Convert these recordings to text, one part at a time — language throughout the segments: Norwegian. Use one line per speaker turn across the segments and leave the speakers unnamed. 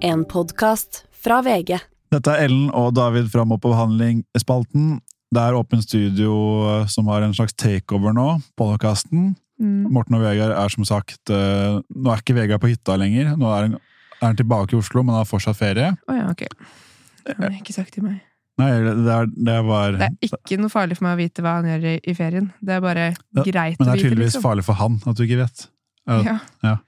En podkast fra VG.
Dette er Ellen og David fra Mopp og behandling-spalten. Det er Åpen Studio eh, som har en slags takeover nå, podkasten.
Mm.
Morten og Vegard er som sagt eh, Nå er ikke Vegard på hytta lenger. Nå er han, er han tilbake i Oslo, men har fortsatt ferie.
Å ja, ok. Det har han ikke sagt til meg.
Nei, det, er, det var
Det er ikke noe farlig for meg å vite hva han gjør i, i ferien. Det er bare
Ja,
greit
Men det
å
er
vite,
tydeligvis
liksom.
farlig for han at du ikke vet. Er det-
Ja.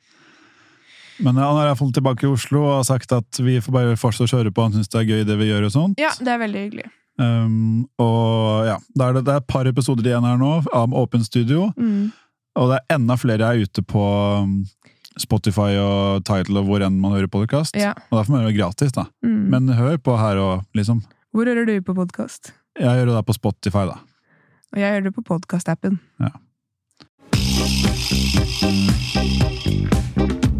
Men eh, han er iallfall tilbake i Oslo og har sagt at vi får bare fortsette å kjøre på. Han syns det er gøy, det vi gjør og sånt.
ja, det er veldig hyggelig.
Um, og ja, da er det, det er et par episoder igjen her nå av Åpen Studio.
Mm.
Og det er enda flere jeg er ute på um, Spotify og Tidal og hvor enn man hører podkast.
Ja.
Og derfor må det være gratis, da.
Mm.
Men hør på her og liksom.
Hvor hører du på podkast?
Jeg gjør det da på Spotify, da.
Og jeg hører det på podkastappen.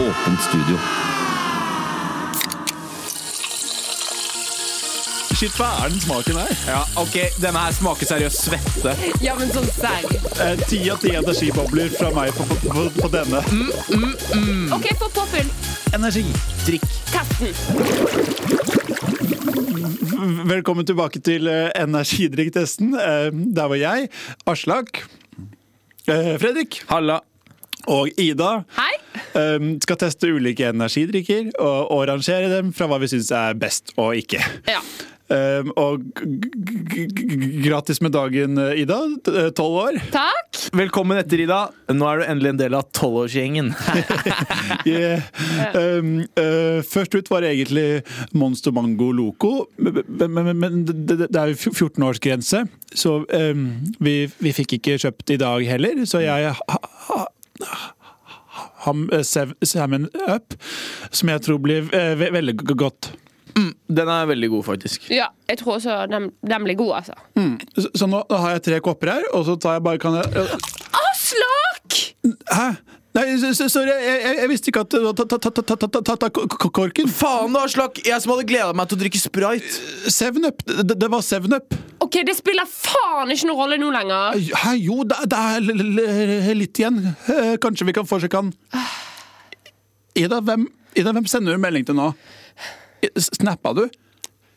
Åpent studio. Shit, hva er den smaken her? Ja, ok, Denne her smaker seriøst svette.
Ja, men sånn serr.
Eh, Ti av ti energibobler fra meg på, denne.
OK, få påfyll.
Energi. Drikk.
Testen.
Velkommen tilbake til eh, energidrikktesten. Eh, Der var jeg, Aslak, eh, Fredrik
Halla.
og Ida.
Hei.
Um, skal teste ulike energidrikker og, og rangere dem fra hva vi syns er best og ikke.
Ja.
Um, og g- g- g- gratis med dagen, eh, Ida. Tolv år.
Takk.
Velkommen etter, Ida. Nå er du endelig en del av tolvårsgjengen.
Yeah. Um, eh, først ut var egentlig Monster Mango Loco, men, men, men- men det, det- det er jo fj- 14-årsgrense, så um, vi, vi fikk ikke kjøpt i dag heller, så jeg ha, ha, ham, eh, sev, Salmon Up, som jeg tror blir eh, ve veldig g- godt.
Den er veldig god, faktisk.
Ja, jeg tror også den, den blir god, altså.
Så, så nå nå har jeg tre kopper her, og så tar jeg bare kan jeg,
Aslak!
Hæ? Nei, s- s- sorry, jeg, jeg, jeg visste ikke at ta, ta, ta, ta, ta, ta, ta, ta, k- korken.
Faen, da, Slakk! Jeg som hadde gleda meg til å drikke sprite.
Eh, Seven Up! Det, det- det var Seven Up.
OK, det spiller faen ikke noen rolle nå lenger.
Hæ, jo, det, det er l- l- litt igjen. Eh, Kanskje vi kan forsøke han. Ida, hvem, Ida, hvem sender du melding til nå? I- s- Snappa du?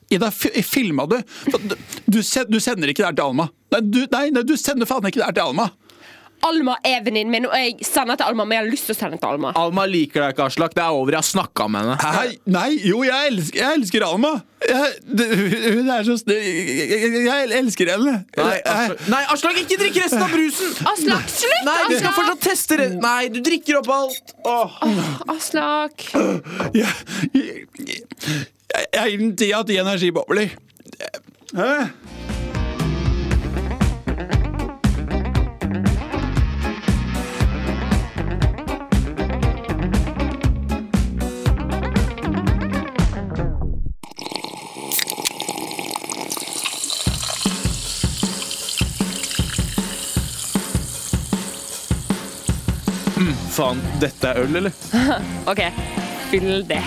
Ida, fi- filma du? Du, du? sen- du sender ikke det her til Alma. Nei, du, nei, nei, du sender faen ikke det her til Alma.
Alma er venninnen min, og jeg sender til Alma, men jeg har lyst til å sende til Alma.
Alma liker deg ikke, Aslak. Det er over. Jeg har snakka med henne.
Nei, nei, jo, jeg elsker, jeg elsker Alma. Jeg, det, hun er så snill. Jeg, jeg, jeg elsker henne.
Nei, altså-
Jeg-
altså,
Aslak, Nei, Aslak ikke drikk resten av brusen!
Aslak, slutt!
Nei, du skal
Aslak!
fortsatt teste det. Nei, du drikker opp alt. Åh.
Aslak.
jeg, jeg, jeg, jeg gir den ti av ti energibobler. Hæ?
Faen, dette er øl, eller?
OK, fyll det.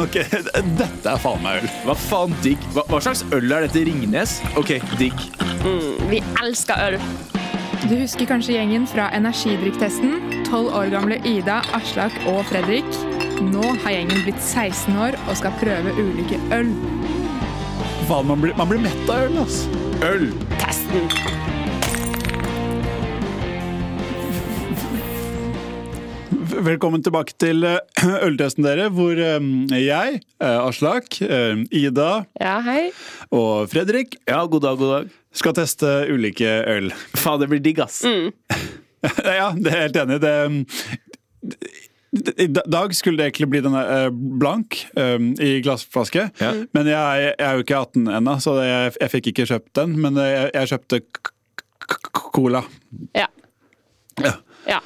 Ok, dette er faen meg øl.
Hva faen, digg? Hva, hva slags øl er dette? Ringnes? Ok, digg.
Vi elsker øl.
Du husker kanskje gjengen fra energidrikktesten? 12 år gamle Ida, Aslak og Fredrik. Nå har gjengen blitt 16 år og skal prøve ulike øl.
Faen, man blir, man blir mett av altså. øl, ass.
Øl.
Testen.
Velkommen tilbake til eh, øltesten dere, hvor eh, jeg, eh, Aslak, eh, Ida
Ja, hei.
og Fredrik
Ja, god dag, god dag.
skal teste ulike øl.
Faen, det blir digg, ass.
Ja, det er jeg helt enig. i. Det, I da- dag skulle det egentlig bli denne eh, blank eh, i glassflaske.
Ja.
Men jeg, jeg er jo ikke 18 ennå, så det, jeg, jeg fikk ikke kjøpt den. Men eh, jeg, jeg kjøpte k- k- k- cola.
Ja.
Ja.
Ja.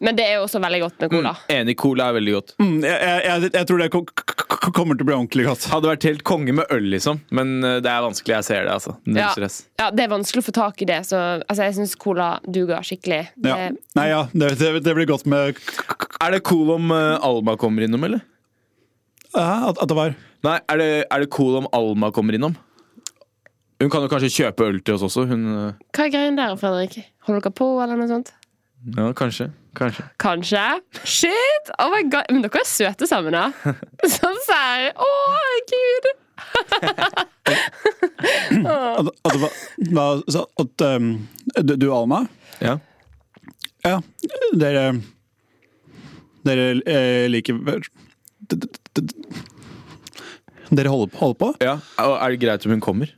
Men det er jo også veldig godt med cola.
Enig, cola er veldig godt.
Mm, jeg, jeg, jeg, jeg tror det kom- k- k- kommer til å bli ordentlig godt.
Hadde vært helt konge med øl, liksom. Men eh, det er vanskelig. Jeg ser det, altså. Null
Ja.
stress.
ja, Det er vanskelig å få tak i det, så altså, jeg syns cola duger skikkelig. Eh,
Ja.
Det-
Nei, ja, det, det, det blir godt med
Er det cool om eh, Alma kommer innom, eller?
ja, ah, at, at det var
Nei, er det, er det cool om Alma kommer innom? Hun kan jo kanskje kjøpe øl til oss også. Hun eh,
Hva er greien der, Fredrik? Holder dere på, eller noe sånt?
Ja, kanskje. Kanskje.
Kanskje. Shit! Oh my god. Men dere er søte sammen, da. Sånn sær. Å, herregud.
At, at, det var, var så at um, du, du, Alma?
Ja.
Ja, dere Dere eh, liker d- d- d- d- Dere holder, holder på?
ja. Og er det greit om hun kommer?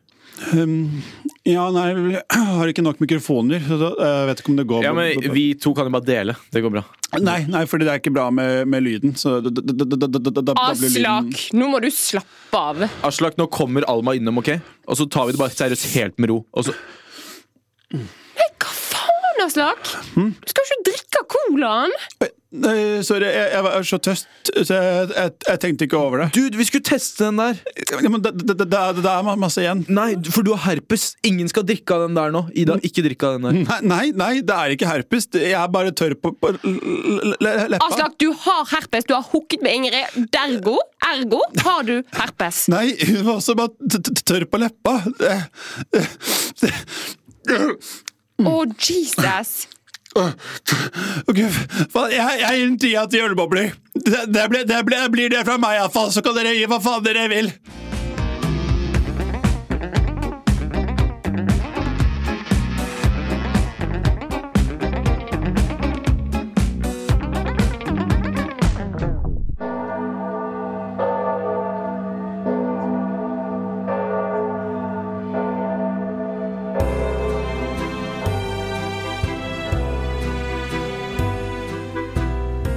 Ja, nei, jeg har ikke nok mikrofoner. Så da- jeg vet ikke om det går
Ja, men Vi to kan jo bare dele. Det går bra.
Nei, nei, fordi det er ikke bra med, med lyden. Så da, da, da, da, da, da, da blir lyden
Aslak, nå må du slappe av. Eh,
Aslak, nå kommer Alma innom, ok? Og så tar vi det bare seriøst helt med ro. Og så,
Hva faen, Aslak?
Hmm?
Du skal jo ikke drikke colaen!
Nei, Sorry, jeg, jeg var så tøst, så jeg, jeg, jeg tenkte ikke over det.
Dude, vi skulle teste den der!
Ja, men det, det, det, det er- det er masse igjen.
Nei, for du har herpes. Ingen skal drikke av den der nå. Ida, ikke drikke av den der.
Nei, nei, nei, det er ikke herpes. Det- Jeg er bare tørr på, på l- l- l- leppa.
Aslak, du har herpes. Du har hooket med Ingrid. Dergo, ergo, har du herpes.
Nei, hun var også bare t- t- tørr på leppa. Det-
Å, Jesus.
Ok, faen, jeg, jeg gir den tida til ølbobler. Det, det, blir- det, blir- blir det fra meg, iallfall. Så kan dere gi hva faen dere vil.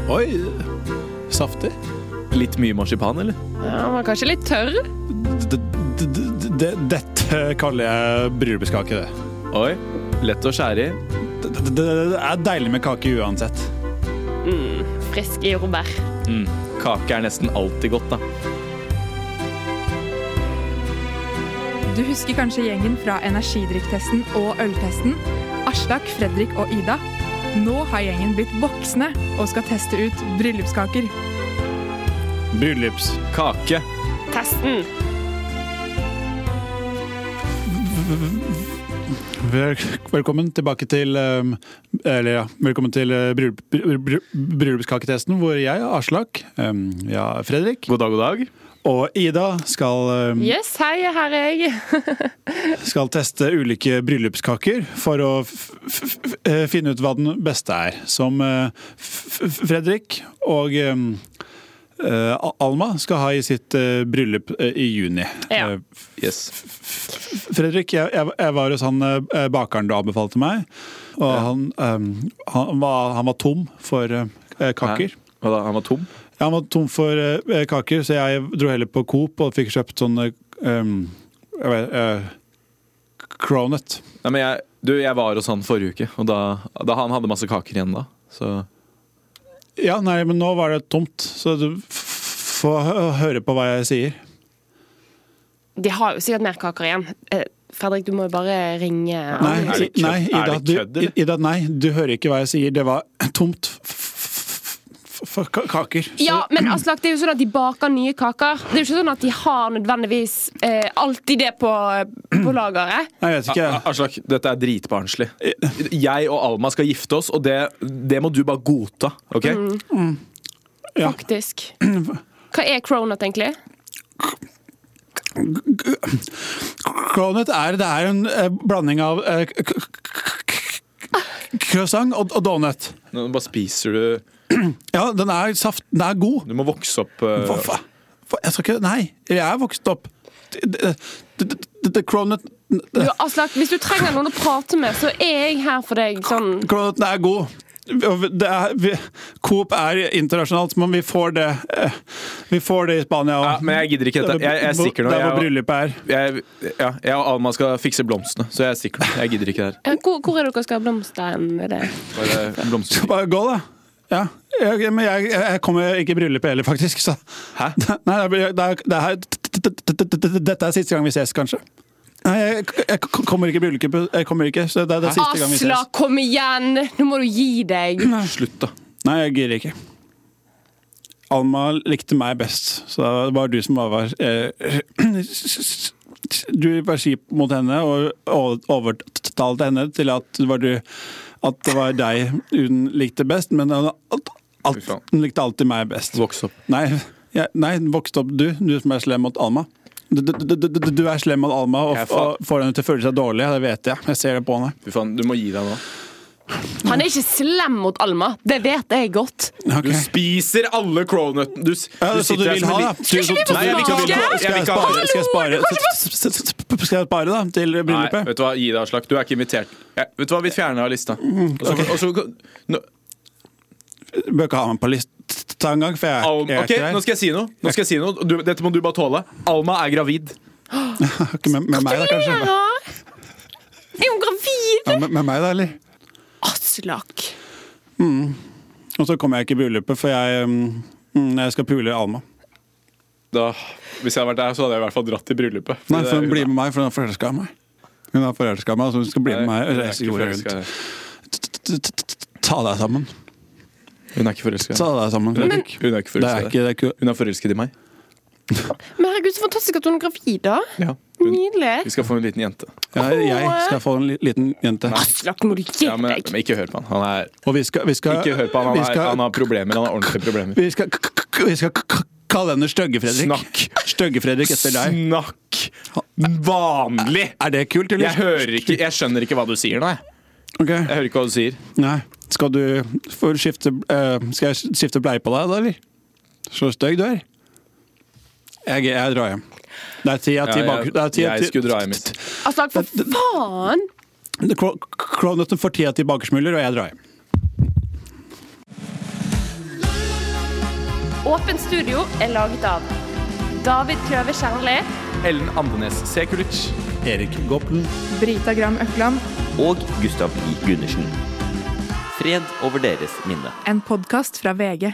Oi, saftig.
Litt mye marsipan, eller?
Ja, han var kanskje litt tørr.
D- d- d- d- Dette kaller jeg bryllupskake, det.
Oi. Lett å skjære i.
Det- det- det- Det er deilig med kake uansett.
Frisk i jordbær.
Mm. Kake er nesten alltid godt, da.
Du husker kanskje gjengen fra energidrikktesten og øltesten? Aslak, Fredrik og Ida. Nå har gjengen blitt voksne og skal teste ut bryllupskaker.
Bryllups.
Kake.
Testen.
Vel, velkommen tilbake til ehm, Eller ja, velkommen til eh, bryllup- bry- bry- bryllupskaketesten, hvor jeg, Aslak, ehm, ja, Fredrik
God dag, god dag.
og Ida skal, ehm,
Yes, hei, her er jeg.
skal teste ulike bryllupskaker for å f f f eh, finne ut hva den beste er. Som eh, f f Fredrik og ehm, eh, A- Alma skal ha i sitt eh, bryllup eh, i juni.
Ja.
Eh,
Yes.
Fredrik, jeg, jeg, jeg var hos han eh, bakeren du anbefalte meg. Og han, eh, han, var, han var tom for eh, kaker.
Hæ? Hva da? Han var tom?
Ja, han var tom for eh, kaker, så jeg dro heller på Coop og fikk kjøpt sånn eh, um, jeg vet, eh, Cronut.
Nei, men jeg, du, jeg var hos han forrige uke, og da, da han hadde masse kaker igjen da. Så
Ja, nei, men nå var det tomt, så du f- får hø- høre på hva jeg sier.
De har jo sikkert mer kaker igjen. Eh, Fredrik, du må jo bare ringe.
Nei,
Er det kødd?
nei,
Er
Ida,
det
du,
kødd, eller?
Ida, nei, du hører ikke hva jeg sier. Det var tomt f- f- f- for ka- kaker.
Ja, men Aslak, det er jo sånn at de baker nye kaker. Det er jo ikke sånn at de har nødvendigvis eh, alltid det på, eh, på lageret.
Nei, jeg vet ikke.
A- A- Aslak, dette er dritbarnslig. Jeg og Alma skal gifte oss, og det, det må du bare godta. ok?
Ja.
Faktisk. Hva er cronut, egentlig?
Cronut er, det er en eh, blanding av eh, k- k- k- k- croissant og, og donut.
Nå bare spiser du
Ja, den er, saft, den er god.
Du må vokse opp eh,
Hva fa- hva- Jeg skal ikke Nei, jeg er vokst opp. Det- det- det- det- det- Cronut
Du,
det-
Aslak, hvis du trenger noen å prate med, så er jeg her for deg. Sånn.
Cronuten er god. Og Det er, vi, Coop er internasjonalt, men vi får det eh, Vi får det i Spania
Ja,
òg.
men jeg gidder ikke dette. Jeg, jeg stikker nå.
Der hvor
Jeg,
bryllupet er.
jeg, ja, jeg og Alma skal fikse blomstene, så jeg stikker nå. Jeg gidder ikke det her.
Ja, Hvor, hvor er dere skal ha blomster? hen? Er det
Bare blomster.
Bare gå, da. Ja, jeg, men jeg, jeg kommer ikke i bryllupet heller, faktisk. Så.
Hæ?
Nei, det blir- det er, det er, dette er siste gang vi ses, kanskje. Nei, jeg, jeg kommer ikke i bryllupet. Jeg kommer ikke, så det er det siste gang vi
Asla,
ses.
kom igjen! Nå må du gi deg.
Slutt, da.
Nei, jeg gidder ikke. Alma likte meg best, så det var du som var eh, Du var kjip mot henne og o- overtalte henne til at det var du At det var deg hun likte best, men hun, alt,
Fy faen.
alt, hun likte alltid meg best.
Voks opp.
Nei, jeg, nei vokste opp du, du som er slem mot Alma. Du, du, du, du, du er slem mot Alma og,
Jeg er faen-
og får henne til å føle seg dårlig. Det vet jeg. Jeg ser det på henne.
Fy faen, du må gi deg nå.
Han er ikke slem mot Alma. Det vet jeg godt.
Ok.
Du spiser alle crownutene. Du, s-
Ja,
du
så du
sitter her
vil
som
ha,
en
da?
liten-
Du-
ikke vi få
Nei, jeg vil ikke ha
smake?
bil- jeg
Skal
vil
jeg
ikke ha
spare,
bil-
skal jeg spare, skal jeg spare da, til
Nei,
bryllupet?
vet du hva, gi deg, Aslak. Du er ikke invitert. Jeg, vet du hva, Vi fjerner av lista.
Mm,
Og så- og så- nå,
Bør ikke ha meg på lista engang, for jeg, er-
Alma,
jeg er
ok,
ikke
nå
der.
skal jeg si noe. Nå skal jeg si noe. Du, dette må du bare tåle. Alma er gravid.
Ikke Med, med meg, da, kanskje?
Er hun gravid?
Ja, med, med meg, da, eller?
Aslak.
Og så kommer jeg ikke i bryllupet, for jeg, um, mm, jeg skal pule Alma.
Da, hvis jeg hadde vært der, så hadde jeg i hvert fall dratt til bryllupet.
Nei, for hun
det-
blir med meg, for hun er forelska i meg. Hun er forelska i meg, så hun skal bli med meg og
Hun er
reise
ikke
jorda
forelska i
rundt.
deg.
Ta deg sammen.
Hun er ikke forelska. i
Ta
deg.
deg sammen, Fredrik.
Hun er ikke
Det er
forelska. i
ikke,
deg.
det er ikke
Hun er forelsket i meg.
Men herregud, så fantastisk at hun er gravid, da.
Ja. Hun, vi
Nydelig.
skal få en liten jente.
jeg, jeg skal få en li- liten jente.
Aslak, må du gi
Ja, men,
deg.
men ikke hør på han. Han er,
Og vi skal, vi skal
ikke hør på han. Han,
vi
er,
skal-
han har problemer. Han har ordentlige problemer.
Vi skal, k- k- k- vi skal k- k- kalle henne Støgge-Fredrik.
Snakk.
Støgge-Fredrik etter deg.
Snakk vanlig!
Er det kult, eller?
Jeg hører ikke, jeg skjønner ikke hva du sier nå. jeg.
Ok.
Jeg hører ikke hva du sier.
Nei. Skal du få skifte eh, Skal jeg skifte bleie på deg, da, eller? Så stygg du er. Jeg, jeg drar hjem. Det er ti av ti
Ja,
bak...
jeg-
det er ti av
jeg
ti-
skulle dra hjem, mitt.
Aslak, for faen!
Det- Cro- Cronutten får ti av ti bakersmuler, og jeg drar hjem.
Åpent studio er laget av David Kløve Kjernli.
Ellen Andenes Sekulic.
Erik Goplen.
Brita Gram Økland,
og Gustav Li Gundersen. Fred over deres minne.
en podkast fra VG.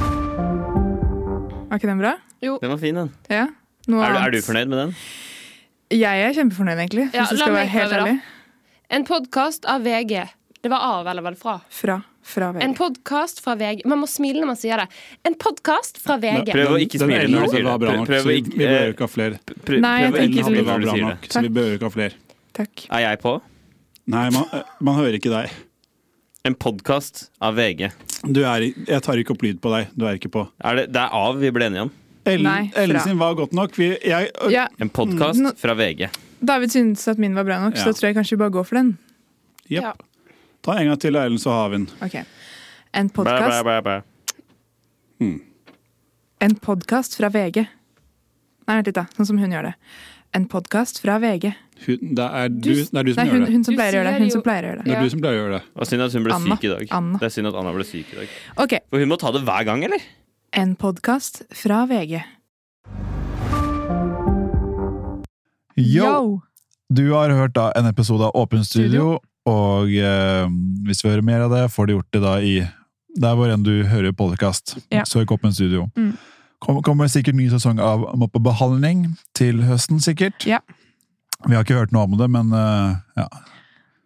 Var ikke den bra?
Den var fin, den.
Ja. Noe
Er du, er
annet?
du fornøyd med den?
Jeg er kjempefornøyd, egentlig.
Ja,
hvis jeg
la
skal
meg
være helt
prøve, da.
ærlig.
En podkast av VG. Det var av eller vel fra.
Fra, fra VG.
En podkast fra VG. Man må smile når man sier det. En podkast fra VG.
Prøv å ikke
Den
smile
ene
når du
hadde
sier
var bra
det.
nok,
Prøv
så
å
vi, vi
ikke eh,
behøver ikke ha flere.
prøv-
Nei, jeg
prøv å
tenker
Den
ikke
ikke
hadde
smile
smile
var
når du
bra
sier
nok,
det.
så vi behøver ikke ha flere.
Takk.
Er jeg på?
Nei, man, man hører ikke deg.
En podkast av VG.
Du er, i- jeg tar ikke opp lyd på deg. Du er ikke på.
Er det, det er av vi ble enige om.
Ellen,
Nei, fra.
Ellen sin var godt nok. Vi, jeg,
Ja,
En podkast
Nå-
fra VG.
David syntes at min var bra nok,
Ja.
så da tror jeg kanskje vi bare går for den.
Jepp.
Ja.
Ta en gang til, Erlend, så har vi den.
Ok. En
Bæ, bæ,
podkast
bæ, bæ.
En podkast fra VG. Nei, vent litt, da. Sånn som hun gjør det. En podkast fra VG.
Hun, det, er du,
Du-
det er du som
Nei,
gjør
hun,
det.
hun som
Du
pleier å gjøre det.
sier
Hun
jo-
som pleier å gjøre det.
Det er
Ja.
du som pleier å gjøre det.
Og synd at hun ble
Anna.
syk i dag.
Anna.
Det er synd at Anna ble syk i dag.
Ok.
For hun må ta det hver gang, eller?
En podkast fra VG. Yo!
Du har hørt da en episode av Åpen Studio, og eh, hvis vi hører mer av det, får du gjort det da i der hvor enn du hører podkast.
Ja.
Søk Åpen Studio.
Mm.
Kom, kommer sikkert ny sesong av Moppebehandling til høsten, sikkert.
Ja.
Vi har ikke hørt noe om det, men eh, ja.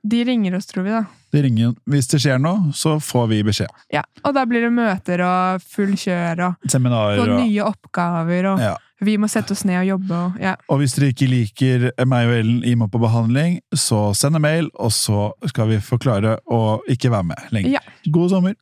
De ringer oss, tror vi, da.
Det ringer, hvis det skjer noe, så får vi beskjed.
Ja. Og da blir det møter og full kjør og få
Seminarer og
nye oppgaver og
ja.
vi må sette oss ned og jobbe og ja.
Og hvis dere ikke liker meg og Ellen i Moppebehandling, så send en mail, og så skal vi forklare å ikke være med lenger.
Ja.
God sommer!